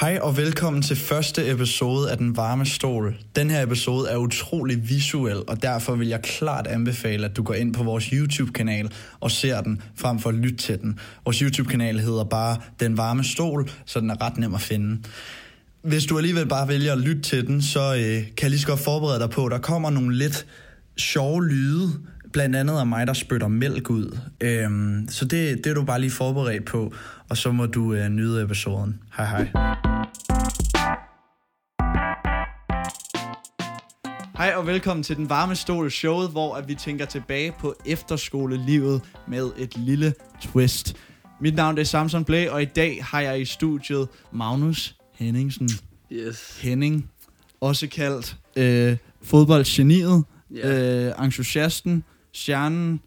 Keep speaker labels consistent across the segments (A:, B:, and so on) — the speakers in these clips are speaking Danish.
A: Hej og velkommen til første episode af Den Varme Stol. Den her episode er utrolig visuel, og derfor vil jeg klart anbefale, at du går ind på vores YouTube-kanal og ser den, frem for at lytte til den. Vores YouTube-kanal hedder bare Den Varme Stol, så den er ret nem at finde. Hvis du alligevel bare vælger at lytte til den, så øh, kan jeg lige så godt forberede dig på, at der kommer nogle lidt sjove lyde, blandt andet af mig, der spytter mælk ud. Øhm, så det, det er du bare lige forberedt på, og så må du øh, nyde episoden. Hej hej. Hej og velkommen til Den Varme Stol showet, hvor at vi tænker tilbage på efterskolelivet med et lille twist. Mit navn det er Samson Blæ, og i dag har jeg i studiet Magnus Henningsen.
B: Yes.
A: Henning, også kaldt øh, fodboldgeniet,
B: Ja,
A: yeah. øh, entusiasten, stjernen,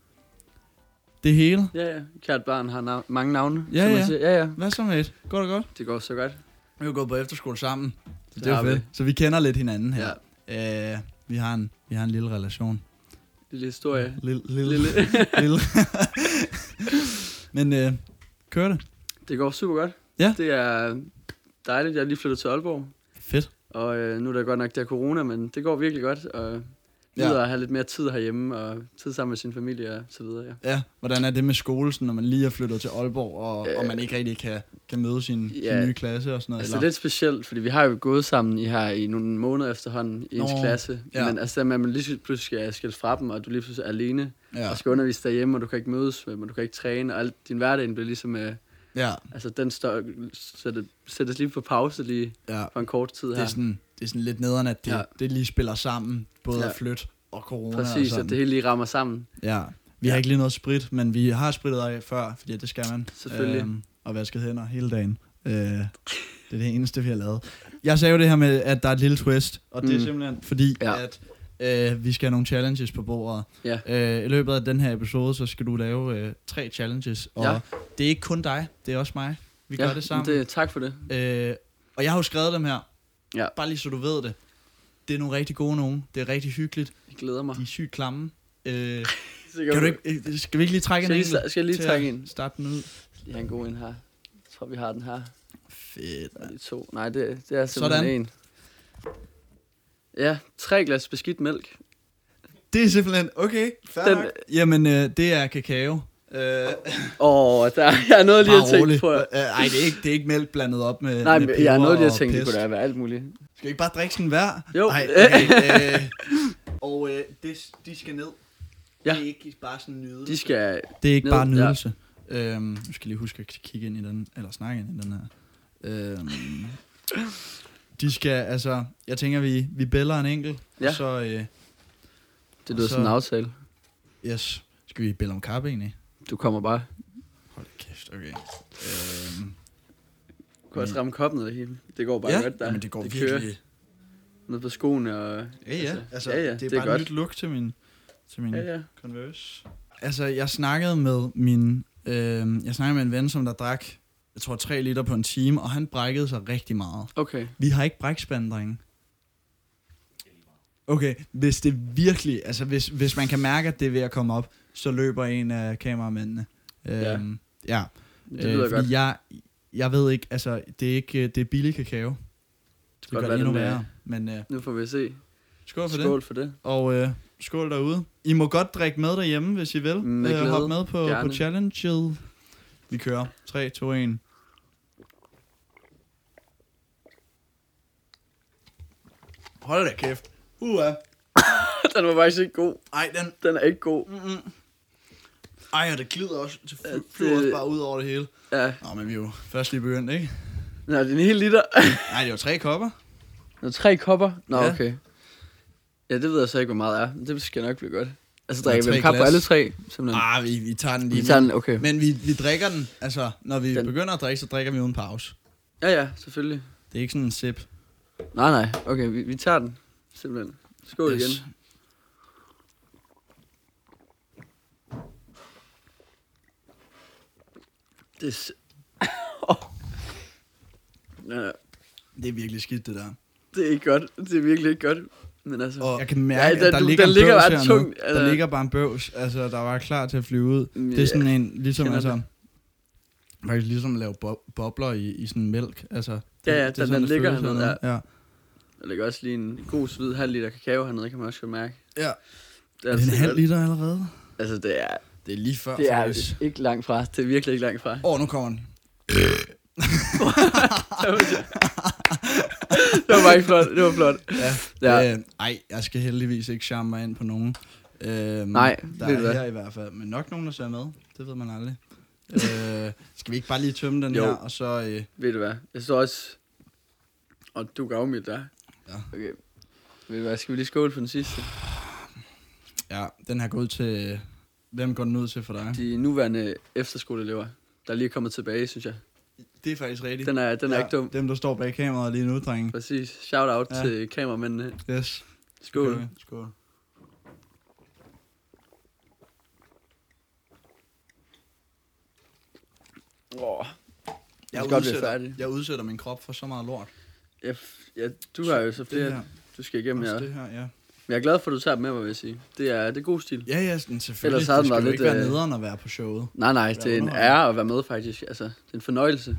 A: det hele.
B: ja, ja. Kært barn har nav- mange navne.
A: Ja,
B: som man
A: ja.
B: siger. ja, ja.
A: Hvad så med et? Går det godt?
B: Det går så godt.
A: Vi har jo gået på efterskole sammen, så det,
B: Det
A: er
B: har
A: jo
B: vi.
A: fedt. Så vi kender lidt hinanden her.
B: Ja.
A: Øh, vi, har en, vi har en lille relation.
B: Lille historie.
A: Lille, lille,
B: Lille.
A: lille. Men øh, kører det?
B: det går super godt.
A: Ja.
B: Det er dejligt. Jeg er lige flyttet til Aalborg.
A: Fedt.
B: Og øh, nu er der godt nok der corona, men det går virkelig godt. Og nyder at have lidt mere tid herhjemme og tid sammen med sin familie og så videre. Ja.
A: Ja, hvordan er det med skole, sådan, når man lige er flyttet til Aalborg, og, øh, og man ikke rigtig kan, kan møde sin, yeah.
B: Ja.
A: sin nye klasse og sådan noget?
B: Altså, det er
A: eller?
B: lidt specielt, fordi vi har jo gået sammen i her i nogle måneder efterhånden i ens
A: Nå,
B: klasse.
A: ja.
B: Men altså, det med, at man lige pludselig skal skille fra dem, og du lige pludselig er alene,
A: ja.
B: og skal undervise derhjemme, og du kan ikke mødes med dem, og du kan ikke træne, og alt, din hverdag bliver ligesom... Øh,
A: ja,
B: Altså, den står, sætte, sættes lige på pause lige
A: ja.
B: for en kort tid
A: Det er,
B: her.
A: sådan, det er sådan lidt nederen, at det, ja.
B: Ja.
A: det lige spiller sammen, både ja.
B: Ja.
A: at flytte og corona og
B: Præcis,
A: sådan.
B: at det hele lige rammer sammen.
A: Ja. Vi har ikke lige noget sprit, men vi har spritet af før, fordi det skal man.
B: Selvfølgelig.
A: Øhm, og vasket hænder hele dagen. Øh, det er det eneste, vi har lavet. Jeg sagde jo det her med, at der er et lille twist, og det er
B: Mm.
A: simpelthen fordi, ja.
B: Ja.
A: at øh, vi skal have nogle challenges på bordet.
B: Ja.
A: Øh, I løbet af den her episode, så skal du lave øh, tre challenges, og
B: Ja.
A: det er ikke kun dig, det er også mig. Vi gør det sammen.
B: Det, tak for det.
A: Øh, og jeg har jo skrevet dem her.
B: Ja.
A: Bare lige så du ved det. Det er nogle rigtig gode nogen. Det er rigtig hyggeligt.
B: Jeg glæder mig.
A: De er sygt klamme. Øh,
B: Så
A: kan du ikke, øh, skal vi ikke lige trække
B: skal,
A: en
B: jeg
A: enkelt?
B: lige, skal jeg lige
A: til
B: trække
A: at
B: en?
A: Starte den ud.
B: Jeg har en god en her. Jeg tror, vi har den her.
A: Fedt.
B: Der er lige to. Nej, det, det er simpelthen
A: Sådan.
B: en. Ja, tre glas beskidt mælk.
A: Det er simpelthen, okay, fair
B: Den-
A: nok. Jamen, øh, det er kakao. Øh, bare
B: Åh, oh, der jeg er noget lige at tænke
A: rolig.
B: på.
A: Øh, ej, det er, ikke, det er ikke mælk blandet op med
B: Nej,
A: med
B: men jeg er
A: peber
B: noget lige at
A: og
B: tænke på,
A: pest.
B: der er alt muligt.
A: Skal vi ikke bare drikke sådan hver?
B: Jo.
A: Ej, okay, øh, og øh, det, de skal ned.
B: Ja.
A: Det er ikke bare sådan en nydelse.
B: De skal...
A: Det er ikke
B: Ned,
A: bare
B: ja.
A: nydelse. Ja. Øhm, nu skal jeg lige huske at kigge ind i den, eller snakke ind i den her. Øhm, de skal, altså, jeg tænker, vi, vi bæller en enkelt, ja.
B: Ja.
A: og så, øh,
B: Det lyder
A: Så-
B: sådan en aftale.
A: yes, skal vi bælle om kaffe egentlig?
B: Du kommer bare.
A: Hold da kæft, okay. Øhm,
B: Du kan også ramme koppen eller hele. Det går bare
A: Mm. ja,
B: godt der.
A: men det går det
B: kører.
A: virkelig.
B: Ned på skoene og...
A: Ja, ja, altså,
B: ja, ja,
A: det er, det er bare
B: godt.
A: et nyt look til min, til min
B: Ja, ja.
A: Converse. Altså, jeg snakkede med min, øh, jeg snakkede med en ven, som der drak, jeg tror, 3 liter på en time, og han brækkede sig rigtig meget.
B: Okay.
A: Vi har ikke brækspand, drenge. Okay, hvis det virkelig, altså hvis, hvis man kan mærke, at det er ved at komme op, så løber en af kameramændene.
B: Ja.
A: Øhm, ja. Øh,
B: Det lyder
A: fordi
B: godt.
A: Jeg, jeg ved ikke, altså det er ikke, øh, det er billig kakao. Det,
B: godt
A: gør det
B: være,
A: endnu
B: den er-
A: værre. Men øh,
B: Nu får vi se.
A: skål for skål. det,
B: Skål for det.
A: og øh, skål derude. I må godt drikke med derhjemme, hvis I vil.
B: Mm, med
A: øh,
B: glæde.
A: hop med på, på
B: Gerne.
A: challenget. Vi kører. 3, 2, 1. Hold da kæft. Uha.
B: den var faktisk ikke god.
A: Ej, den...
B: Den er ikke god.
A: Mm-mm. Ej, og det glider også. Det
B: Ja,
A: fly- flyver også
B: det-
A: bare ud over det hele.
B: Ja.
A: Nå, men vi er jo først lige begyndt, ikke?
B: Nå, det er en hel liter.
A: Nej, det var tre kopper.
B: Nå, tre kopper. Nå,
A: Ja.
B: ja. okay. Ja, det ved jeg så ikke, hvor meget er. men Det skal nok blive godt. Altså,
A: Der er
B: drikker vi
A: tre
B: en kap på
A: glas.
B: alle tre? Simpelthen.
A: Ah, vi, vi tager den lige.
B: Vi tager den, okay.
A: Men vi, vi drikker den. Altså, når vi den.
B: Den-
A: begynder at drikke, så drikker vi uden pause.
B: Ja, ja, selvfølgelig.
A: Det er ikke sådan en sip.
B: Nej, nej. Okay, vi, vi tager den. Simpelthen. Skål
A: Yes.
B: igen. Det er... s- ja,
A: Det er virkelig skidt, det der.
B: det er ikke godt. Det er virkelig ikke godt. Men altså...
A: Og jeg kan mærke, ja,
B: der-
A: at der,
B: du-
A: ligger
B: der
A: en
B: ligger
A: bøvs
B: bare
A: hernede.
B: tungt,
A: Der
B: altså.
A: ligger bare en bøvs, altså, der var klar til at flyve ud.
B: Mm,
A: Det er sådan en, ligesom
B: kender
A: altså, Man kan ligesom lave bo- bobler i, i sådan mælk. Altså,
B: Ja, ja, den- den
A: det
B: ligger
A: føles
B: hernede,
A: hernede. Ja.
B: Der ligger også lige en god, svid halv liter kakao hernede, kan man også godt mærke.
A: ja.
B: Det
A: Er det en halv liter allerede?
B: Altså, det er,
A: Det er lige før,
B: det er ikke langt fra. Det er virkelig ikke langt fra.
A: Åh, oh, nu kommer den.
B: det var bare ikke flot. Det var flot.
A: Ja.
B: Ja.
A: ja. Øh, ej, jeg skal heldigvis ikke charme mig ind på nogen. Øhm,
B: Nej,
A: der
B: ved
A: er
B: du hvad?
A: her i hvert fald. Men nok nogen, der ser med. Det ved man aldrig. øh, skal vi ikke bare lige tømme den
B: Jo.
A: her, og så... Øh,
B: Ved du hvad? Jeg så også... Og du gav mig der.
A: Ja.
B: Okay. Ved du hvad? Skal vi lige skåle for den sidste?
A: ja, den her går ud til... Hvem går den ud til for dig?
B: De nuværende efterskoleelever, der er lige kommet tilbage, synes jeg.
A: Det er faktisk rigtigt.
B: Den er, den er ja. ikke dum.
A: Dem, der står bag kameraet lige nu, drenge.
B: Præcis. Shout out
A: Ja.
B: ja. til kameramændene.
A: Yes.
B: Skål.
A: Okay, Skål.
B: Åh.
A: Jeg,
B: skal godt blive
A: udsætter,
B: færdig.
A: jeg udsætter min krop for så meget lort.
B: Ja, f- ja, du har jo så
A: Det
B: flere,
A: her,
B: du skal igennem her.
A: også det her, ja.
B: Men jeg er glad for, at du tager dem med mig, vil jeg sige. Det er, det er god stil.
A: Ja, ja, sådan, selvfølgelig.
B: Ellers havde
A: det
B: den
A: skal
B: været
A: jo
B: lidt,
A: ikke være
B: øh,
A: nederen at være på showet.
B: Nej, nej, det er en
A: underholdende.
B: ære at være med, faktisk. Altså, det er en fornøjelse.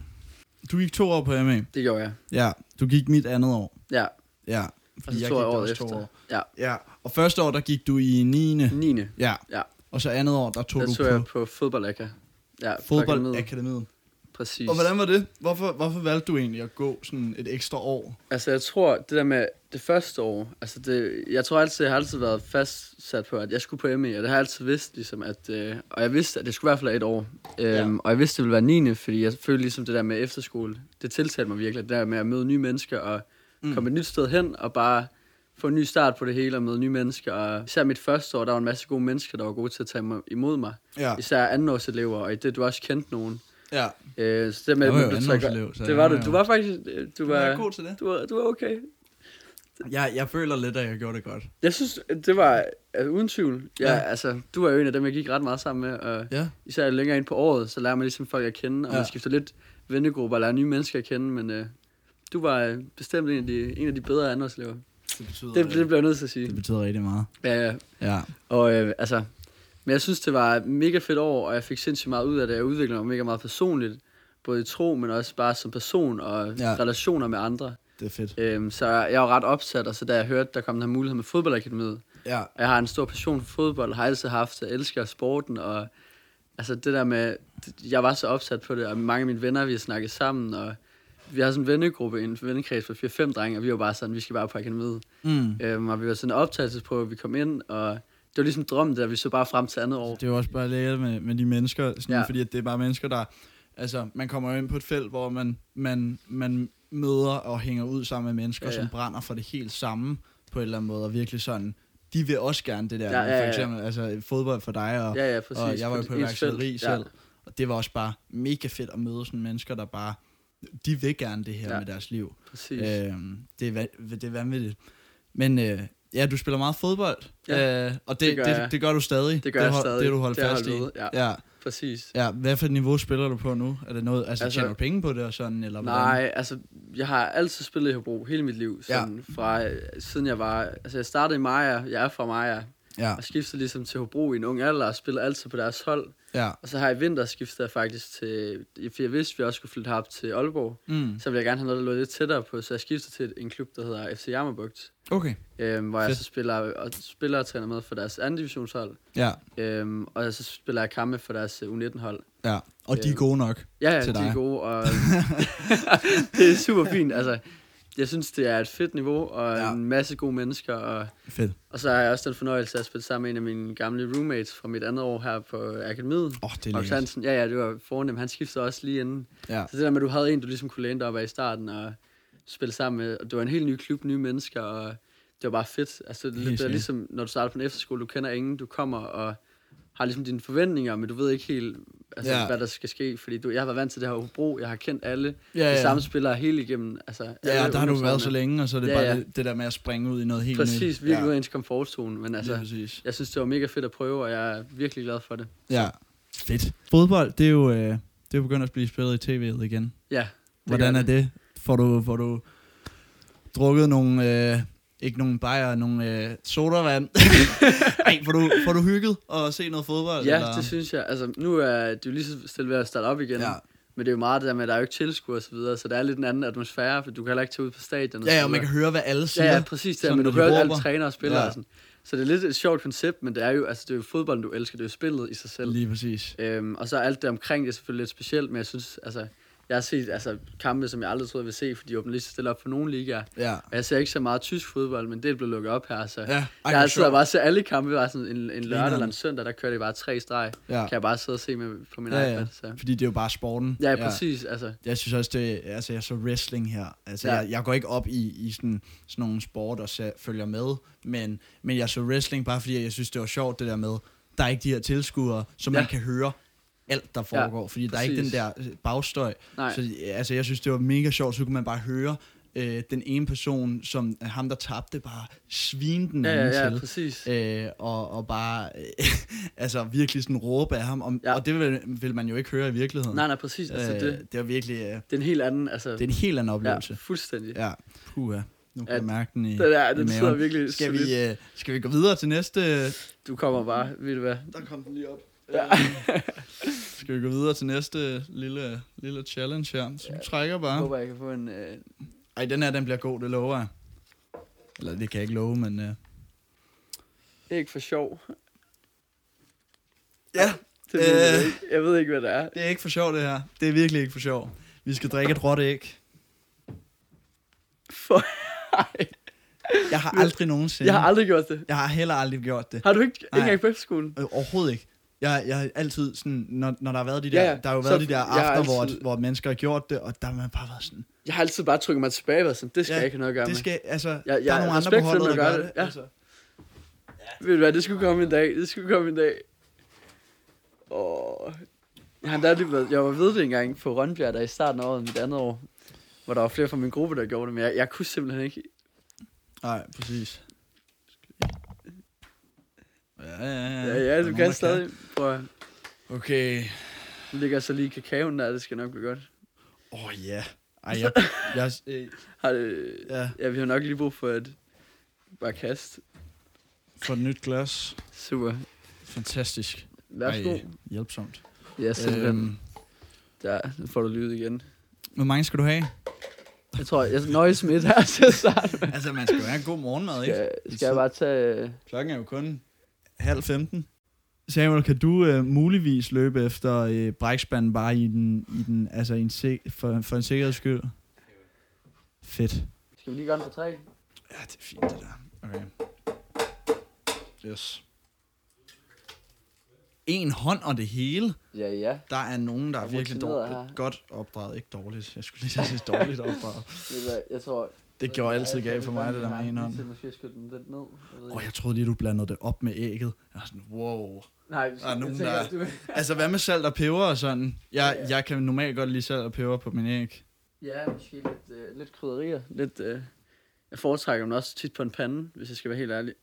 A: Du gik to år på MA.
B: Det gjorde jeg.
A: Ja, du gik mit andet år.
B: Ja,
A: Ja,
B: og så
A: fordi jeg
B: tog
A: gik
B: jeg
A: der
B: året
A: også
B: efter.
A: to år.
B: Ja,
A: Ja, og første år, der gik du i 9.
B: 9.
A: Ja.
B: Ja.
A: Og så andet år, der tog
B: Der
A: du
B: tog jeg
A: på
B: på fodboldakka. Ja, på akademiet.
A: fodboldakademiet.
B: Præcis.
A: Og hvordan var det? Hvorfor, hvorfor valgte du egentlig at gå sådan et ekstra år?
B: Altså, jeg tror, det der med det første år, altså, det, jeg tror altid, jeg har altid været fastsat på, at jeg skulle på ME, og det har jeg altid vidst, ligesom, at, øh, og jeg vidste, at det skulle i hvert fald være et år. Øhm,
A: Ja.
B: ja. Og jeg vidste, det ville være 9. fordi jeg følte ligesom det der med efterskole, det tiltalte mig virkelig, det der med at møde nye mennesker, og mm. komme et nyt sted hen, og bare få en ny start på det hele, og møde nye mennesker. Og især mit første år, der var en masse gode mennesker, der var gode til at tage mig- imod mig.
A: Ja,
B: Især andenårselever, og i det, du også kendte nogen.
A: ja.
B: Øh, så det med,
A: Jeg var jo
B: at du tog-
A: andenårselev, så
B: Det
A: jeg
B: var
A: var
B: du.
A: jo-
B: Du var faktisk... øh, Du
A: Du var
B: var,
A: god til det.
B: du var, du var okay.
A: Jeg, jeg føler lidt, at jeg gjorde det godt.
B: Jeg synes, det var altså, uden tvivl. Ja,
A: Ja.
B: ja. altså, du var jo en af dem, jeg gik ret meget sammen med. Og
A: Ja.
B: især længere ind på året, så lærer man ligesom folk at kende, og ja.
A: Ja.
B: man skifter lidt vennegrupper og lærer nye mennesker at kende, men øh, du var øh, bestemt en af de, en af de bedre andenårselever.
A: Det betyder,
B: Det, det bliver jeg nødt til at
A: det
B: sige.
A: betyder rigtig meget.
B: Ja, ja.
A: Ja.
B: Og øh, altså, men jeg synes, det var et mega fedt år, og jeg fik sindssygt meget ud af det. Jeg udviklede mig mega meget personligt, både i tro, men også bare som person og
A: Ja.
B: ja. relationer med andre.
A: Det er fedt.
B: Øhm, så jeg var ret opsat, og så da jeg hørte, der kom den her mulighed med fodboldakademiet,
A: Ja.
B: og jeg har en stor passion for fodbold, og har altid haft, jeg elsker sporten, og altså det der med, jeg var så opsat på det, og mange af mine venner, vi har snakket sammen, og vi har sådan en vennegruppe, en vennekreds på 4-5 drenge, og vi var bare sådan, vi skal bare på akademiet.
A: Mm.
B: Øhm, og vi var sådan en optagelsesprøve, vi kom ind, og det var ligesom drømmen der, vi så bare frem til andet år.
A: Det er jo også bare lækkert med, med de mennesker, sådan, ja.
B: Ja.
A: fordi at det er bare mennesker, der... Altså, man kommer jo ind på et felt, hvor man, man, man møder og hænger ud sammen med mennesker, ja,
B: Ja,
A: ja.
B: ja.
A: som brænder for det helt samme på en eller anden måde, og virkelig sådan, de vil også gerne det der.
B: Ja, ja,
A: For
B: ja.
A: eksempel altså, fodbold for dig, og, ja,
B: Ja, ja, præcis.
A: og jeg var jo på
B: ens
A: iværksætteri
B: felt.
A: selv, ja. og det var også bare mega fedt at møde sådan mennesker, der bare, de vil gerne det her ja.
B: Ja.
A: med deres liv.
B: Ja, præcis. Øh,
A: Øhm, det, er, van- det er vanvittigt. Men øh, ja, du spiller meget fodbold, ja, øh, og det, det,
B: det gør
A: det,
B: jeg.
A: det gør du stadig.
B: det gør jeg
A: hold-
B: stadig.
A: Det du holdt
B: har jeg
A: fast i.
B: ved, Ja,
A: Ja,
B: præcis.
A: ja. Hvad for et niveau spiller du på nu? Er det noget, altså, altså
B: Altså-
A: tjener du penge på det og sådan? Eller hvordan?
B: Nej, altså, jeg har altid spillet i Hobro hele mit liv, sådan ja. fra, øh, siden jeg var, altså jeg startede i Maja, jeg er fra Maja,
A: Ja,
B: og skiftede ligesom til Hobro i en ung alder og spillede altid på deres hold.
A: ja.
B: Og så her i vinter skiftede jeg faktisk til, for jeg vidste, at vi også skulle flytte herop til Aalborg,
A: Mm.
B: så ville jeg gerne have noget, der lå lidt tættere på, så jeg skiftede til en klub, der hedder FC Jammerbugt,
A: Okay.
B: øhm, hvor jeg
A: Fedt.
B: så spiller og, spiller og træner med for deres anden divisionshold,
A: Ja,
B: øhm, og så spiller jeg kampe for deres øh, U19-hold.
A: ja. Og de er
B: Øhm,
A: gode nok.
B: Ja, ja,
A: til
B: de
A: dig.
B: er gode, og det er super fint. Altså, jeg synes, det er et fedt niveau, og
A: Ja.
B: ja. en masse gode mennesker, og,
A: Fedt.
B: og så har jeg også den fornøjelse af at spille sammen med en af mine gamle roommates fra mit andet år her på akademiet.
A: Åh, oh, det er
B: Max
A: lækkert.
B: Hansen, ja, ja, det var fornemt. Han skiftede også lige inden.
A: Ja.
B: Så det der med, at du havde en, du ligesom kunne læne dig op af i starten og spille sammen med. Og det var en helt ny klub, nye mennesker, og det var bare fedt. Altså, det er
A: Helt
B: lidt, det er
A: sikkert.
B: ligesom, når du starter på en efterskole, du kender ingen, du kommer og har ligesom dine forventninger, men du ved ikke helt, altså,
A: Ja.
B: ja. hvad der skal ske. Fordi du, jeg har været vant til det her Hobro, jeg har kendt alle.
A: Ja,
B: Ja, ja.
A: ja.
B: De samme spillere hele igennem. Altså,
A: Ja,
B: alle
A: der har du været så
B: ungdomsårene.
A: længe, og så er det
B: Ja,
A: bare
B: ja.
A: Det, det der med at springe ud i noget helt nyt.
B: Præcis, virkelig ja. ud af
A: ja.
B: ens komfortzone. Men
A: altså.
B: altså,
A: præcis.
B: jeg synes, det var mega fedt at prøve, og jeg er virkelig glad for det.
A: Ja. Fedt. Fodbold, det er jo øh, det er jo begyndt at blive spillet i tv'et igen.
B: Ja, det
A: Hvordan
B: gør
A: er det? Får du, får du drukket nogle, øh, ikke nogle bajer, nogle øh, sodavand? Ej, får du, får du hygget og se noget fodbold?
B: Ja,
A: eller?
B: det synes jeg. Altså, nu er det jo lige så stille ved at starte op igen.
A: Ja.
B: Men det er jo meget det der med, at der er jo ikke tilskuer og så videre, så der er lidt en anden atmosfære, for du kan heller ikke tage ud på stadion. og så
A: Ja, ja, og man
B: videre.
A: kan høre, hvad alle siger.
B: Ja, ja præcis det,
A: sådan,
B: der, men du
A: når de
B: hører alle
A: råber.
B: trænere og spillere
A: Ja.
B: ja. og sådan. Så det er lidt et sjovt koncept, men det er jo, altså, det er jo fodbolden, du elsker, det er jo spillet i sig selv.
A: Lige præcis.
B: Øhm, og så alt det omkring det er selvfølgelig lidt specielt, men jeg synes, altså, jeg har set altså, kampe, som jeg aldrig troede, jeg ville se, fordi de åbner lige så stille op for nogle ligaer.
A: Ja.
B: Og jeg ser ikke så meget tysk fodbold, men det blev lukket op her, så
A: Ja, ej,
B: jeg
A: hvor
B: har siddet og
A: sjovt.
B: bare set alle kampe, bare sådan en, en lørdag eller
A: Grineren.
B: en søndag, der kørte de bare tre streg.
A: Ja.
B: Kan jeg bare sidde og se med på min
A: Ja, ja,
B: iPad. Så.
A: fordi det er jo bare sporten.
B: Ja, præcis, altså.
A: Jeg synes også, det altså jeg så wrestling her. Altså, ja.
B: Ja.
A: jeg, jeg, går ikke op i, i sådan, sådan nogle sport og så, følger med, men, men jeg så wrestling bare fordi, jeg synes, det var sjovt det der med, der er ikke de her tilskuere, så man
B: Ja.
A: kan høre alt, der foregår, ja, fordi der er ikke den
B: præcis.
A: der øh, bagstøj.
B: Nej.
A: Så altså, jeg synes, det var mega sjovt, så kunne man bare høre øh, den ene person, som øh, ham, der tabte, bare svine den
B: Ja,
A: anden
B: ja, ja,
A: til
B: præcis.
A: øh, og, og bare øh, altså virkelig sådan råbe af ham, og, ja.
B: Ja.
A: og det vil, vil man jo ikke høre i virkeligheden.
B: Nej, nej, præcis. Altså,
A: øh,
B: det,
A: det er virkelig øh,
B: det er en helt anden, altså,
A: det er en helt anden
B: ja,
A: oplevelse.
B: fuldstændig.
A: Ja, puha. Nu kan
B: Ja,
A: jeg mærke den i,
B: Den,
A: i
B: er, den
A: maven.
B: sidder virkelig
A: skal,
B: solidt.
A: vi, øh, skal vi gå videre til næste?
B: Du kommer bare, ved du hvad?
A: Der kom den lige op.
B: Ja.
A: Øh, Skal vi gå videre til næste lille, lille challenge her? Så du trækker
B: Jeg
A: bare.
B: håber, jeg kan få en... Øh...
A: Ej, den her, den bliver god, det lover jeg. Eller det kan jeg ikke love, men... Øh.
B: Ikke for sjov.
A: Ja,
B: Det ved jeg,
A: Øh.
B: ikke. jeg ved ikke, hvad det er.
A: det er ikke for sjov, det her. Det er virkelig ikke for sjov. Vi skal drikke et råt æg.
B: For...
A: Jeg har aldrig nogensinde...
B: jeg har aldrig gjort det.
A: jeg har heller aldrig gjort det.
B: Har du ikke, ikke
A: Nej.
B: engang på efterskolen?
A: Øh, Overhovedet ikke. Jeg, jeg har altid sådan, når, når der har været de der,
B: Ja,
A: ja,
B: ja.
A: der har jo
B: Så
A: været de der
B: jeg har
A: aftener, altid... hvor,
B: altid-
A: at- hvor mennesker har gjort det, og der har man bare været sådan,
B: Jeg har altid bare trykket mig tilbage og været sådan, det skal ja, jeg ikke have noget at gøre
A: det
B: med.
A: skal, altså, ja, ja,
B: jeg
A: der er
B: har
A: nogle andre
B: respekt
A: på
B: for
A: holdet, der
B: dem, der
A: gør
B: gør
A: det.
B: det, ja.
A: Altså.
B: Ved du hvad, det skulle komme en dag. Det skulle komme en dag. Åh. Jeg, har endda lige været, jeg var ved det engang på Rønbjerg, der i starten af året, mit andet år, hvor der var flere fra min gruppe, der gjorde det, men jeg, jeg kunne simpelthen ikke.
A: Nej, præcis. Ja, ja, ja.
B: Ja,
A: Der er
B: ja, du
A: nogen,
B: kan
A: der
B: stadig. Prøv at,
A: Okay.
B: nu ligger jeg så lige kakaoen der, det skal nok blive godt.
A: Åh, oh, ja. Ej, jeg, jeg, øh,
B: Har det,
A: ja,
B: Ja, vi har nok lige brug for et bare kast.
A: for et nyt glas.
B: Super.
A: Fantastisk.
B: Værsgo.
A: Ej, hjælpsomt.
B: Ja, simpelthen. Øhm.
A: Øhm,
B: Der nu får du lyd igen.
A: hvor mange skal du have?
B: Jeg tror, jeg nøjes med det her til at starte med.
A: altså, man skal jo have en god morgenmad, ikke?
B: Skal, skal jeg bare tage... øh,
A: Klokken er jo kun halv 15. Samuel, kan du øh, muligvis løbe efter øh, brækspanden bare i den, i den altså i en sik- for, for en sikkerheds skyld? Fedt.
B: Skal vi lige gøre den på tre?
A: Ja, det er fint det der. Okay. Yes. En hånd og det hele.
B: Ja, ja.
A: Der er nogen, der er
B: Og
A: virkelig
B: rutineret
A: dårligt,
B: her.
A: godt opdraget. Ikke dårligt. Jeg skulle lige til at sige dårligt opdraget.
B: Ved du hvad, Jeg tror...
A: Det gjorde altid galt for mig, det der med en hånd.
B: Jeg måske jeg skulle den lidt ned. Jeg ved
A: Åh, oh,
B: ikke.
A: jeg troede lige, du blandede det op med ægget. Jeg var sådan, wow.
B: Nej, vi skal,
A: er
B: jeg
A: nogen,
B: tænker
A: der-
B: også, du...
A: Altså, hvad med salt og peber og sådan? Jeg, jeg kan normalt godt lide salt og peber på min æg.
B: Ja, måske lidt, øh, lidt krydderier. Lidt, øh... Jeg foretrækker dem også tit på en pande, hvis jeg skal være helt ærlig.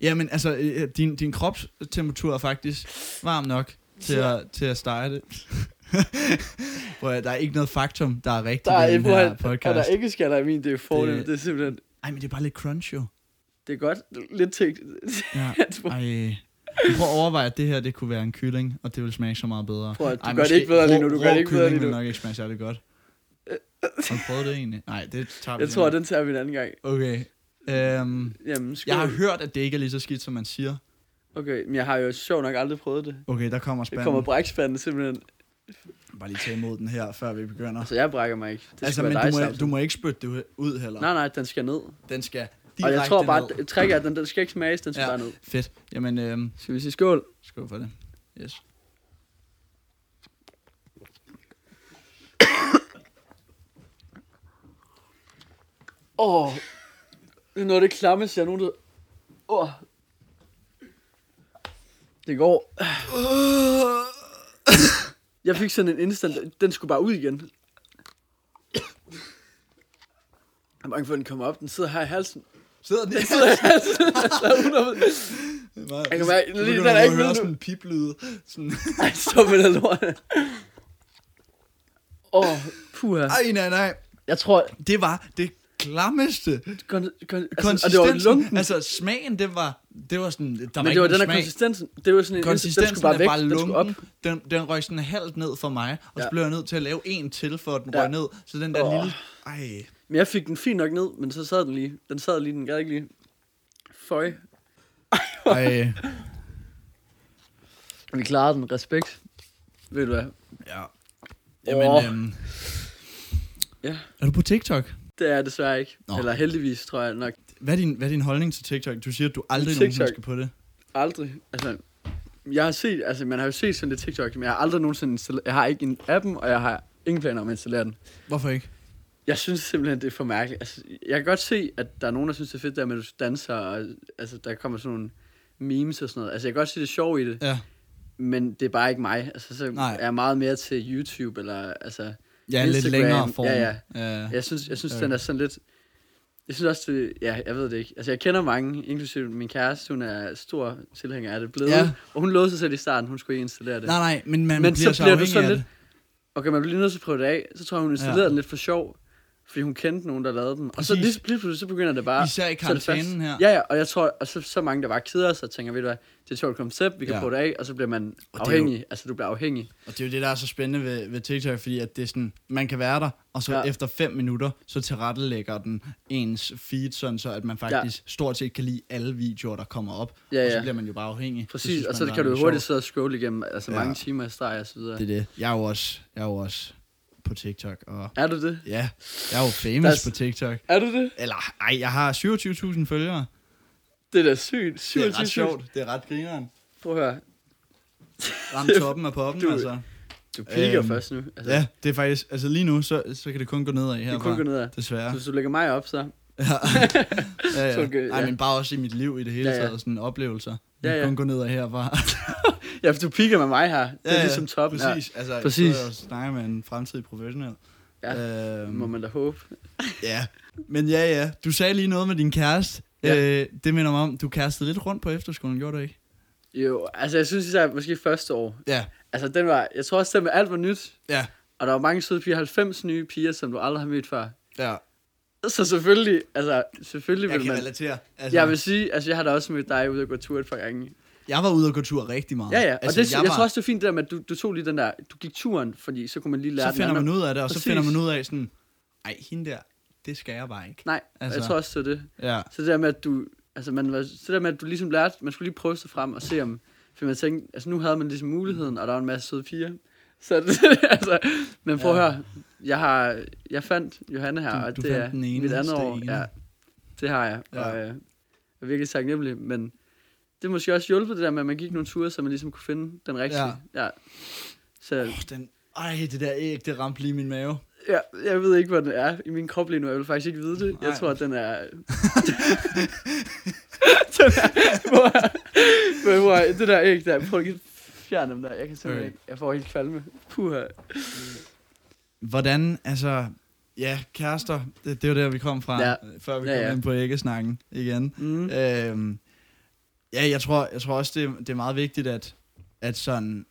A: Ja, men altså, øh, din, din kropstemperatur er faktisk varm nok til at, til at stege det. Prøv at, der er ikke noget faktum, der er rigtigt
B: Der er,
A: i den
B: hvor
A: her
B: er der
A: podcast.
B: ikke skaller i min, det er fordel.
A: Det-
B: Det... det er simpelthen...
A: Ej, men det er bare lidt crunch, jo.
B: Det er godt. Lidt tænkt.
A: Ja. Ej. øh, Prøv at overveje, at det her det kunne være en kylling, og det ville smage så meget bedre.
B: Prøv at- du
A: Ej,
B: gør det
A: måske
B: ikke bedre lige nu,
A: rå-
B: du gør det
A: rå
B: ikke bedre
A: kylling
B: lige
A: ville
B: nu.
A: nok ikke smage særlig godt. Har du prøvet det egentlig? Nej, det tager vi
B: Jeg
A: lige
B: tror,
A: om.
B: at den tager vi en anden gang.
A: Okay. Øhm,
B: Jamen, skål.
A: jeg har hørt, at det ikke er lige så skidt, som man siger.
B: Okay, men jeg har jo sjovt nok aldrig prøvet det.
A: Okay, der kommer
B: Det
A: spanden.
B: kommer brækspanden simpelthen.
A: Bare lige tage imod den her, før vi begynder.
B: Altså, jeg brækker mig ikke. Det skal
A: altså,
B: være
A: men
B: dig,
A: du må,
B: Samson.
A: du må ikke spytte det ud heller.
B: Nej, nej, den skal ned.
A: Den skal direkte
B: Og jeg tror bare,
A: ned.
B: at tricket er, at den, den skal ikke smages, den skal
A: Ja.
B: bare ned.
A: Fedt. Jamen, øhm,
B: Skal vi sige skål?
A: skål for det. Yes.
B: Åh, oh, det er noget af det klammeste, jeg nu... Åh. Oh. Det går. Jeg fik sådan en instant, den skulle bare ud igen. Jeg er bange for, at den kommer op. Den sidder her i halsen.
A: Sidder den
B: Den sidder her i halsen. Altså, 100%.
A: Jeg
B: kan mærke, lige den er ikke
A: høre
B: med nu.
A: sådan en piplyde. Sådan,
B: Ej, stop med det lort. Åh, oh, puha.
A: Ej, nej, nej.
B: Jeg tror,
A: Det var, det klammeste
B: Kon, kon, altså, og det var
A: konsistensen.
B: lunken. Altså,
A: Altså, smagen, det var, det var sådan, der var
B: men
A: ikke
B: det var
A: nogen
B: den her
A: smag.
B: konsistensen. Det var sådan en, den
A: Konsistensen
B: skulle bare væk,
A: er bare
B: den skulle op.
A: lunken. Den, den røg sådan halvt ned for mig, og ja. så
B: Ja.
A: blev jeg nødt til at lave en til, for at den
B: Ja.
A: røg ned. Så den der
B: Åh.
A: lille... Ej.
B: Men jeg fik den fint nok ned, men så sad den lige. Den sad lige, den gad ikke lige. Føj.
A: Ej.
B: Vi klarede den. Respekt. Ved du hvad?
A: Ja. Jamen,
B: Åh.
A: oh. øhm,
B: Ja.
A: Er du på TikTok?
B: Det er jeg desværre ikke.
A: Nå.
B: Nå. Eller heldigvis, tror jeg nok.
A: Hvad er, din, hvad er din holdning til TikTok? Du siger, at du aldrig nogensinde
B: TikTok.
A: skal på det.
B: Aldrig. Altså, jeg har set, altså, man har jo set sådan lidt TikTok, men jeg har aldrig nogensinde installeret, jeg har ikke en appen, og jeg har ingen planer om at installere den.
A: Hvorfor ikke?
B: Jeg synes simpelthen, det er for mærkeligt. Altså, jeg kan godt se, at der er nogen, der synes, det er fedt, der med, at du danser, og altså, der kommer sådan nogle memes og sådan noget. Altså, jeg kan godt se det sjov i det,
A: Ja.
B: men det er bare ikke mig. Altså, så
A: Nej.
B: Nej. er jeg meget mere til YouTube, eller altså...
A: Ja, Instagram. lidt
B: Instagram.
A: længere form.
B: Ja, ja.
A: ja.
B: Jeg synes, jeg synes
A: Ja.
B: den er sådan lidt... Jeg synes også, det, ja, jeg ved det ikke. Altså, jeg kender mange, inklusive min kæreste, hun er stor tilhænger af det blevet.
A: Ja.
B: Ja. Og hun lovede sig selv i starten, hun skulle ikke installere det.
A: Nej, nej, men man
B: Men
A: bliver
B: så
A: så,
B: bliver du
A: afhængig
B: sådan
A: af
B: lidt- Okay, man bliver lige nødt til at prøve det af. Så tror jeg, hun installerede
A: Ja.
B: ja. den lidt for sjov, fordi hun kendte nogen, der lavede den. Og så
A: Præcis.
B: lige, lige pludselig, så begynder det
A: det.
B: bare...
A: Især i
B: så er det fast.
A: karantænen her.
B: Ja, ja, og jeg tror, og så, så mange, der bare keder sig, tænker, ved du hvad, det er et sjovt koncept, vi kan
A: Ja.
B: ja. prøve det af, og så bliver man
A: Og det er
B: afhængig. Altså, du bliver afhængig.
A: Og det er jo det, der er så spændende ved, ved TikTok, fordi at det er sådan, man kan være der, og så ja.
B: Ja.
A: efter fem minutter, så tilrettelægger den ens feed, sådan så at man faktisk ja. stort set kan lide alle videoer, der kommer op.
B: Ja,
A: Og så
B: ja.
A: bliver man jo bare afhængig. Det
B: Præcis,
A: synes
B: og
A: man
B: så
A: bare
B: kan
A: er
B: du
A: lidt
B: hurtigt
A: sjovt.
B: sidde og scrolle igennem, altså
A: Ja.
B: ja. mange timer i streg og så videre.
A: Det er det. Jeg er jo også, jeg er jo også på TikTok, og
B: Er du det?
A: ja, jeg er jo famous
B: Der
A: That's...
B: er-
A: på TikTok.
B: Er du det?
A: Eller, ej, jeg har 27.000 følgere.
B: Det er da sygt.
A: Det er
B: 27.
A: ret sjovt. Det er ret grineren.
B: Prøv at høre.
A: Ramt toppen af poppen,
B: Du-
A: altså.
B: Du piker
A: Øhm,
B: øhm, først nu. Altså,
A: Ja, det er faktisk, altså lige nu, så, så kan det kun gå nedad
B: Det
A: herfra.
B: er kun gå ned af.
A: Desværre.
B: Så hvis du lægger mig op, så...
A: Ja, ja.
B: Så gør-
A: Ej,
B: ja.
A: men bare også i mit liv i det hele
B: Ja, ja.
A: taget, sådan oplevelser.
B: Ja,
A: Jeg ja,
B: ja.
A: kun gå ned af herfra.
B: Ja, for du piker med mig her. Det er
A: Ja, ja,
B: ligesom toppen. Ja.
A: Præcis, altså,
B: Præcis.
A: Så jeg snakker med en fremtidig professionel.
B: Ja,
A: øhm,
B: Må man da håbe.
A: ja. Men ja, ja, du sagde lige noget med din kæreste. Ja.
B: Ja.
A: Øh, det minder mig om, du kastede lidt rundt på efterskolen, gjorde du ikke?
B: Jo, altså jeg synes især måske første år.
A: Ja,
B: Altså den var, jeg tror også, den med alt var nyt.
A: ja,
B: Og der var mange søde piger, 90 nye piger, som du aldrig har mødt før.
A: ja.
B: Så selvfølgelig, altså selvfølgelig
A: Jeg
B: vil
A: kan
B: man...
A: relatere. Altså,
B: Jeg vil sige, altså jeg har da også mødt dig ude og gå tur et par gange.
A: jeg var ude og gå tur rigtig meget.
B: Ja, ja, og
A: altså,
B: altså, det, jeg,
A: var,
B: jeg tror også, det er fint det der med, at du, du tog lige den der, du gik turen, fordi så kunne man lige lære
A: så finder
B: den
A: man
B: anden.
A: ud af det, og så
B: Præcis.
A: finder man ud af sådan, ej, hende der, det skal jeg bare ikke.
B: Nej,
A: Altså.
B: altså. jeg tror også, det er det.
A: Ja,
B: Så det der med, at du, altså man var, så det der med, at du ligesom lærte, man skulle lige prøve sig frem og se om, for man tænkte, altså nu havde man ligesom muligheden, og der var en masse søde piger. Så det, altså, men prøv
A: Ja.
B: ja. at høre, jeg har, jeg fandt Johanne her,
A: Du-
B: og
A: du
B: det
A: fandt
B: er
A: den ene,
B: mit andet
A: det
B: år.
A: ene.
B: Ja, det har jeg,
A: Ja.
B: ja. og øh, jeg er virkelig taknemmelig, men det er måske også hjulpet det der med, at man gik nogle ture, så man ligesom kunne finde den rigtige. Ja. ja. Så
A: oh, den, ej, det der æg, det ramte lige min mave.
B: jeg, jeg ved ikke, hvor den er i min krop lige nu. Jeg vil faktisk ikke vide det. Jeg
A: Nej.
B: tror, at den er... den er... Hvor... Men hvor... Det der æg der. Prøv lige at fjerne dem der. Jeg kan simpelthen
A: Okay.
B: ikke... Jeg får helt kvalme. Puha.
A: Hvordan, altså, ja, kærester, det, det var der, vi kom fra,
B: Ja.
A: øh, før vi
B: Ja,
A: kom
B: ja.
A: ind på æggesnakken igen.
B: Mm.
A: Øhm, ja, jeg tror, jeg tror også, det, det er meget vigtigt, at, at sådan,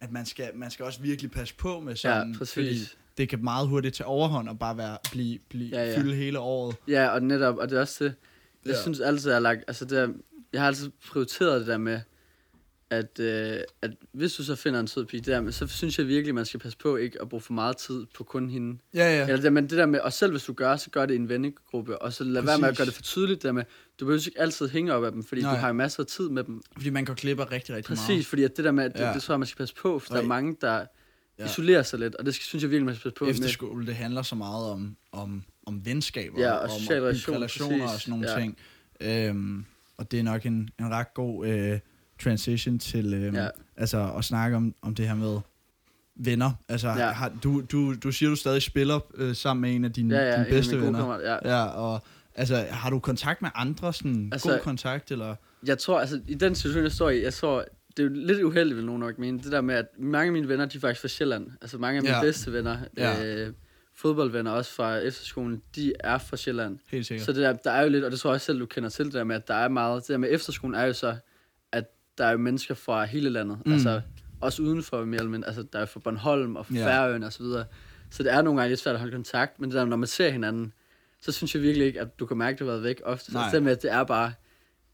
A: at man skal, man skal også virkelig passe på med sådan,
B: Ja,
A: fordi
B: præcis.
A: det kan meget hurtigt tage overhånd og bare være, blive, blive ja,
B: Ja,
A: ja.
B: ja.
A: fylde hele året.
B: Ja, og netop... Og det er også det... Jeg
A: Ja.
B: synes altid, jeg har lagt... Altså, det er, jeg har altid prioriteret det der med, at, øh, at hvis du så finder en sød pige, det der, med- så synes jeg virkelig, man skal passe på ikke at bruge for meget tid på kun hende.
A: Ja, ja.
B: Eller det, der- men det der med, og selv hvis du gør, så gør det i en vennegruppe, og så lad være med at
A: Præcis.
B: gøre det for tydeligt, det der med, du behøver ikke altid hænge op af dem, fordi
A: Nej.
B: Nej. du har jo masser af tid med dem.
A: Fordi man går klip af rigtig, rigtig
B: Præcis,
A: meget.
B: fordi at det der med, at det,
A: Ja.
B: ja. det tror jeg, man skal passe på, for
A: Og
B: der er
A: i-
B: mange, der
A: Ja.
B: ja. isolerer sig lidt, og det skal, synes jeg virkelig, man skal passe på øh, med.
A: efterskole, det handler så meget om, om, om venskaber,
B: Ja, og
A: om
B: social
A: at bygge
B: relation,
A: relationer og
B: præcis.
A: sådan nogle
B: Ja.
A: ting. Øhm, og det er nok en, en ret god øh, transition til øhm, ja.
B: Ja.
A: altså at snakke om, om det her med venner. Altså, ja.
B: Ja.
A: har, du, du, du siger, du stadig spiller øh, sammen med en af dine,
B: Ja, ja, en af
A: dine
B: mine
A: bedste
B: gode
A: venner.
B: kammerater, Ja.
A: Ja, og altså, har du kontakt med andre? Sådan altså,
B: Altså,
A: god kontakt, eller?
B: Jeg tror, altså i den situation, jeg står i, jeg tror, det er jo lidt uheldigt, vil nogen nok mene, det der med, at mange af mine venner, de er faktisk fra Sjælland. Altså mange af mine
A: Ja.
B: ja. bedste venner,
A: Ja.
B: ja. øh, fodboldvenner også fra efterskolen, de er fra Sjælland.
A: Helt sikkert.
B: Så det der, der er jo lidt, og det tror jeg også selv, du kender til, det der med, at der er meget, det der med efterskolen er jo så, at der er jo mennesker fra hele landet,
A: Mm.
B: mm. altså også udenfor mere eller mindre, altså der er fra Bornholm og fra
A: Ja.
B: Færøen og så videre. Så det er nogle gange lidt svært at holde kontakt, men det der, når man ser hinanden, så synes jeg virkelig ikke, at du kan mærke, at du har været væk ofte. Så
A: Nej.
B: altså, det med, at det er bare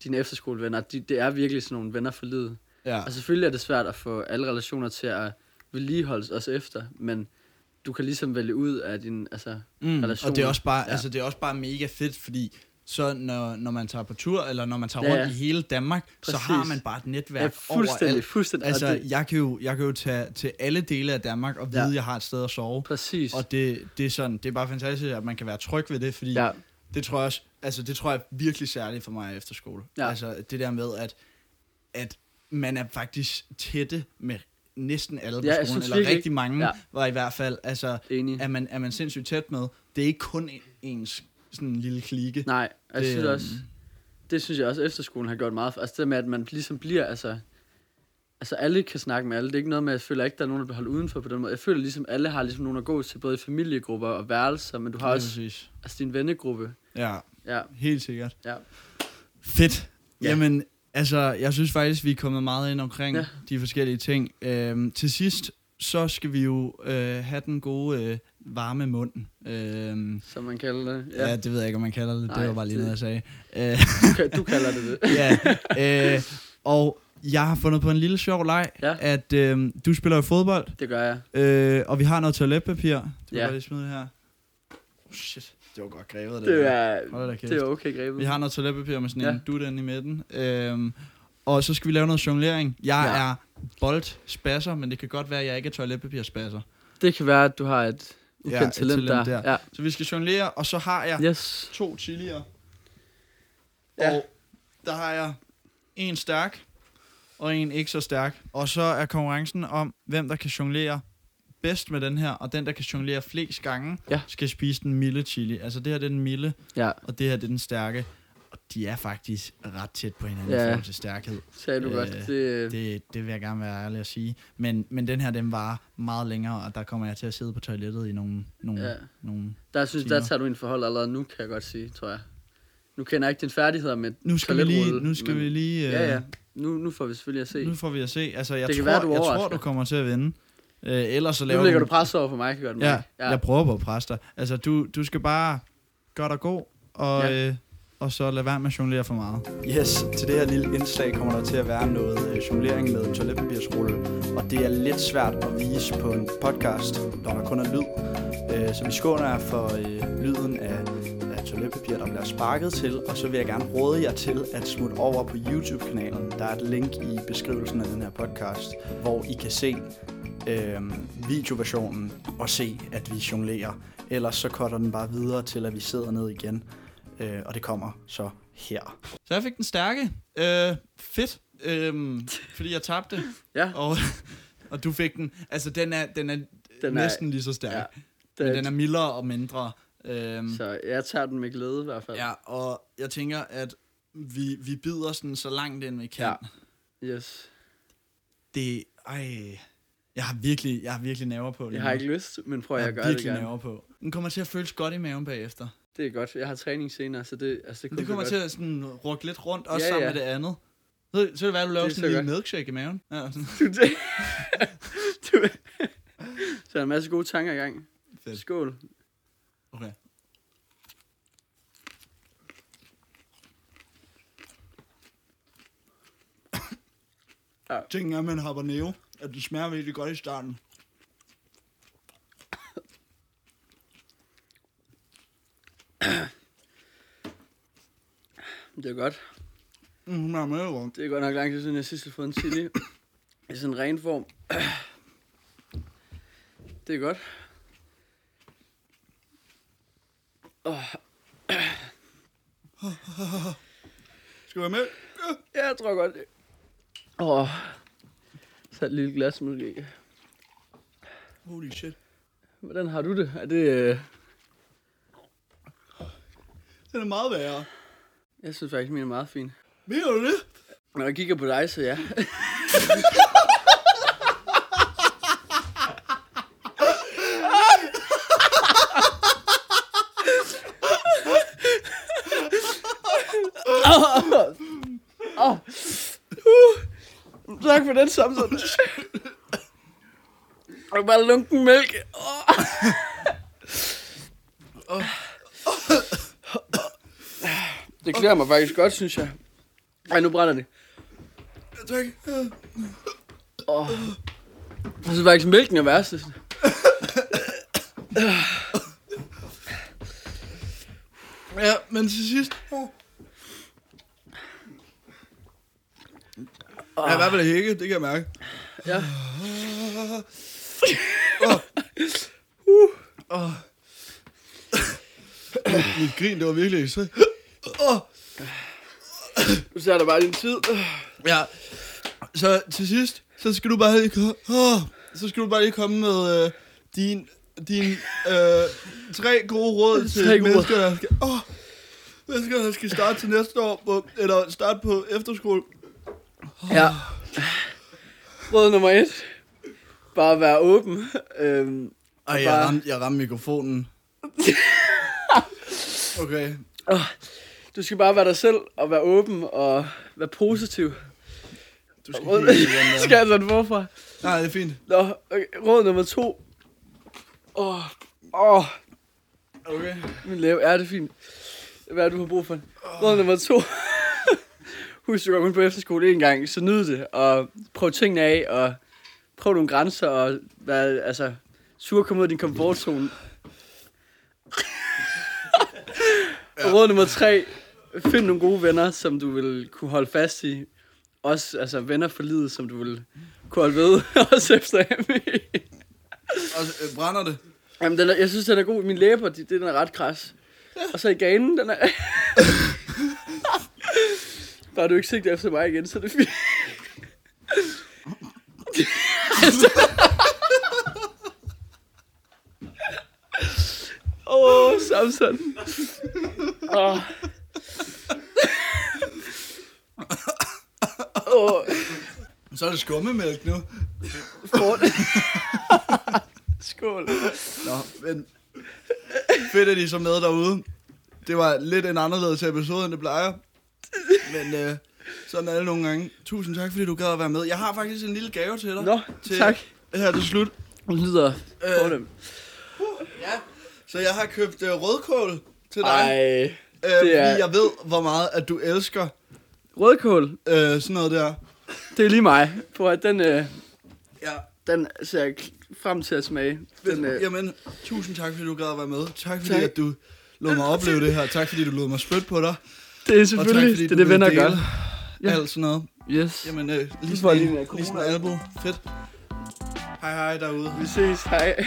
B: dine efterskolevenner, de, det er virkelig sådan nogle venner for livet.
A: Ja.
B: Og selvfølgelig er det svært at få alle relationer til at vedligeholde os efter, men du kan ligesom vælge ud af din, altså,
A: Mm, og det er
B: relationer.
A: også bare, ja.
B: Ja.
A: altså, det er også bare mega fedt, fordi så når, når man tager på tur, eller når man tager
B: Ja,
A: rundt
B: ja.
A: i hele Danmark, Præcis. så
B: Præcis.
A: har man bare et netværk
B: ja,
A: overalt.
B: fuldstændig, fuldstændig.
A: Altså,
B: og det,
A: jeg kan jo, jeg kan jo tage til alle dele af Danmark og vide,
B: Ja.
A: at jeg har et sted at sove.
B: præcis.
A: Og det, det, er sådan, det er bare fantastisk, at man kan være tryg ved det, fordi ja.
B: ja,
A: det tror jeg også, altså det tror jeg er virkelig særligt for mig efter skole.
B: Ja.
A: Altså det der med, at, at man er faktisk tætte med næsten alle på
B: Ja, jeg
A: skolen,
B: synes
A: eller
B: virkelig-
A: rigtig mange,
B: ja.
A: ja. var i hvert fald, altså
B: enig.
A: er man, er man sindssygt tæt med. Det er ikke kun en- ens sådan en lille klike.
B: Nej, og jeg
A: Det,
B: synes
A: øhm,
B: også, det synes jeg også, efterskolen har gjort meget for. Altså det der med, at man ligesom bliver, altså, altså alle kan snakke med alle. Det er ikke noget med, at jeg føler ikke, der er nogen, der bliver holdt udenfor på den måde. Jeg føler ligesom, alle har ligesom nogen at gå til, både i familiegrupper og værelser, men du har
A: Lige
B: også
A: præcis.
B: altså, din vennegruppe.
A: Ja,
B: Ja,
A: helt sikkert.
B: ja.
A: Fedt.
B: Ja.
A: Ja. Jamen, altså, jeg synes faktisk, vi er kommet meget ind omkring
B: Ja.
A: ja. de forskellige ting. Øhm, til sidst, så skal vi jo øh, have den gode øh, varme mund. Øhm,
B: som man kalder det.
A: ja.
B: Ja,
A: ja, det ved jeg ikke, om man kalder det. Nej,
B: Nej,
A: det var bare lige
B: det-
A: noget, jeg sagde. Øh,
B: du, ka- du kalder det det.
A: ja. øh, og jeg har fundet på en lille sjov leg,
B: Ja.
A: ja. at øh, du spiller jo fodbold,
B: Det gør jeg.
A: øh, og vi har noget toiletpapir. Det kan
B: Ja.
A: ja. lige smide her. Oh, shit, det var godt grebet, det,
B: Det
A: der.
B: er,
A: Hold da kæft.
B: det er okay grebet.
A: Vi har noget toiletpapir med sådan en
B: Ja.
A: ja. dut inde i midten. Øhm, og så skal vi lave noget jonglering. Jeg
B: Ja.
A: ja. er boldspasser, men det kan godt være, at jeg ikke er toiletpapirspasser.
B: Det kan være, at du har et ukendt
A: Ja, et
B: talent,
A: talent
B: der.
A: der.
B: Ja.
A: Så vi skal jonglere, og så har jeg
B: Yes.
A: to chilier.
B: Ja.
A: Ja. Og der har jeg en stærk og en ikke så stærk. Og så er konkurrencen om, hvem der kan jonglere bedst med den her, og den, der kan jonglere flest gange,
B: Ja.
A: skal spise den milde chili. Altså det her, det er den milde,
B: Ja,
A: og det her, det er den stærke. Og de er faktisk ret tæt på hinanden
B: Ja.
A: ja. i forhold til stærkhed.
B: sagde du øh,
A: Øh,
B: godt. Det, det,
A: Det, det vil jeg gerne være ærlig at sige. Men, men den her, den var meget længere, og der kommer jeg til at sidde på toilettet i nogle... nogle,
B: ja.
A: ja. nogle.
B: Der synes der
A: timer.
B: tager du ind forhold allerede nu, kan jeg godt sige, tror jeg. Nu kender jeg ikke dine færdigheder med
A: Nu skal vi lige...
B: toiletrulle,
A: Nu, skal
B: men-
A: vi lige øh,
B: Ja, ja. Nu, nu får vi selvfølgelig at se.
A: nu
B: Nu,
A: får vi at se. Altså, jeg,
B: Det kan
A: tror,
B: være, du
A: jeg tror,
B: overrasker.
A: du kommer til at vinde. Øh, ellers så laver
B: nu lægger du
A: du...
B: pres over for mig, kan jeg godt
A: ja,
B: mærke.
A: ja, jeg prøver på at presse dig. Altså, du, du skal bare gøre dig god, og,
B: Ja.
A: ja. øh, og så lad være med at jonglere for meget.
C: Yes, til det her lille indslag kommer der til at være noget øh, jonglering med toiletpapirsrulle, og det er lidt svært at vise på en podcast, når der kun er lyd. Øh, så vi skåner jer for øh, lyden af, af toiletpapir, der bliver sparket til, og så vil jeg gerne råde jer til at smutte over på YouTube-kanalen. Der er et link i beskrivelsen af den her podcast, hvor I kan se øh, videoversionen og se, at vi jonglerer. Ellers så cutter den bare videre til, at vi sidder ned igen, øh, og det kommer så her.
A: Så jeg fik den stærke. Øh, fedt. Øh, fordi jeg tabte.
B: Ja.
A: Og, og du fik den. Altså, den er, den er, den er
B: Den er-
A: næsten lige så stærk.
B: Ja.
A: Ja,
B: Det,
A: men den er mildere og mindre. Øhm,
B: Så jeg tager den med glæde i hvert fald.
A: ja, og jeg tænker, at vi, vi bider sådan så langt ind, vi kan.
B: Ja.
A: Ja.
B: Yes.
A: Det, ej, jeg har virkelig, jeg har virkelig nerver på lige
B: Jeg har
A: nu.
B: ikke lyst, men prøv at
A: jeg
B: jeg
A: har
B: gør det
A: virkelig
B: gerne.
A: nerver på. Den kommer til at føles godt i maven bagefter.
B: Det er godt. Jeg har træning senere, så det, altså, det
A: Men
B: kunne
A: det kommer
B: godt.
A: til at sådan rukke lidt rundt, også
B: Ja,
A: ja, sammen
B: ja.
A: ja. med det andet. Så, så er det være, du laver
B: Det er
A: sådan en
B: så
A: lille milkshake i maven. Ja, sådan.
B: Du, det, du, så er en masse gode tanker i gang.
A: Fedt.
B: Skål.
A: Okay.
B: Ja.
A: Tingen er, at man hopper neo, at det smager virkelig godt i starten.
B: Det er godt.
A: Mm, hun er med, hvor-
B: Det er godt nok lang tid siden, jeg sidst har fået en chili. I sådan en ren form. Det er godt.
A: Skal du være med?
B: Ja, jeg tror godt det. Åh. Så et lille glas måske.
A: Holy shit.
B: Hvordan har du det? Er det... Øh...
A: Den er meget værre.
B: Jeg synes faktisk, min er meget fin.
A: Mener du det?
B: Når jeg kigger på dig, så ja. Åh. Åh. Uh. Tak for den samtale. Og bare lunken mælk. Åh. Det klæder mig faktisk godt, synes jeg. Ej, nu brænder det.
A: Tak.
B: Åh. Jeg synes faktisk, mælken er værst.
A: Ja, men til sidst... Oh. Jeg er i hvert fald ikke, det kan jeg mærke.
B: Ja.
A: Mit grin, det var virkelig ekstremt.
B: Nu ser der bare din tid.
A: Ja. Så til sidst, så skal du bare lige, ko- åh, så skal du bare lige komme med øh, din, din øh, tre gode råd til
B: Tre gode råd.
A: mennesker, der skal, åh, mennesker, der skal starte til næste år, på, eller starte på efterskole.
B: Ja. Råd nummer et. Bare være åben. Øhm,
A: Ej,
B: jeg Bare- ramte-
A: jeg ramte mikrofonen. Okay.
B: du skal bare være dig selv og være åben og være positiv.
A: Du skal
B: Råd... skal jeg tage den forfra?
A: Nej, det er fint.
B: Nå, okay. råd nummer to. Åh, oh, åh, oh,
A: Okay.
B: min læbe. Ja, det er fint. Hvad er det, du har brug for? Råd nummer to. Husk, du går kun på efterskole en gang, så nyd det, og prøv tingene af, og prøv nogle grænser, og hvad, altså, sur at komme ud af din komfortzone. ja. Råd nummer tre. Find nogle gode venner, som du vil kunne holde fast i. Også altså, venner for livet, som du vil kunne holde ved, også efter E. AMI.
A: Og øh, brænder det?
B: Jamen, den er, jeg synes, den er god. Min læber, de, den er ret kras. Og så i ganen, den er... Bare du ikke sigter efter mig igen, så er det fint. Åh, oh, Samson. Åh. Åh, oh,
A: Så er det skummemælk nu.
B: skål.
A: Nå, men fedt, at I er så med derude. Det var lidt en anderledes episode, end det plejer. Men øh, sådan er det nogle gange. Tusind tak, fordi du gad at være med. Jeg har faktisk en lille gave til dig.
B: Nå,
A: til,
B: tak. Øh,
A: Her til slut.
B: Det lyder fornemt.
A: Så jeg har købt øh, rødkål til dig.
B: Ej.
A: Øh,
B: det
A: fordi
B: er-
A: jeg ved, hvor meget at du elsker
B: Rødkål,
A: øh, sådan noget der.
B: det er lige mig. Prøv at den, øh,
A: Ja.
B: den ser jeg k- frem til at smage. Den, øh,
A: Jamen, tusind tak, fordi du gad at være med. Tak, fordi
B: Tak.
A: At du lod mig opleve det her. Tak, fordi du lod mig spytte på dig.
B: det
A: Og
B: er
A: tak,
B: selvfølgelig,
A: fordi
B: det
A: du
B: er det,
A: ville
B: venner gør.
A: dele
B: Ja.
A: Alt sådan noget.
B: Yes.
A: Jamen, øh, lige
B: Det
A: sådan
B: var lige
A: en,
B: med
A: lige sådan en
B: corona.
A: album. Fedt. Hej hej derude.
B: Vi ses, hej.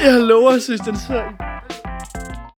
B: jeg lover, søs, den ser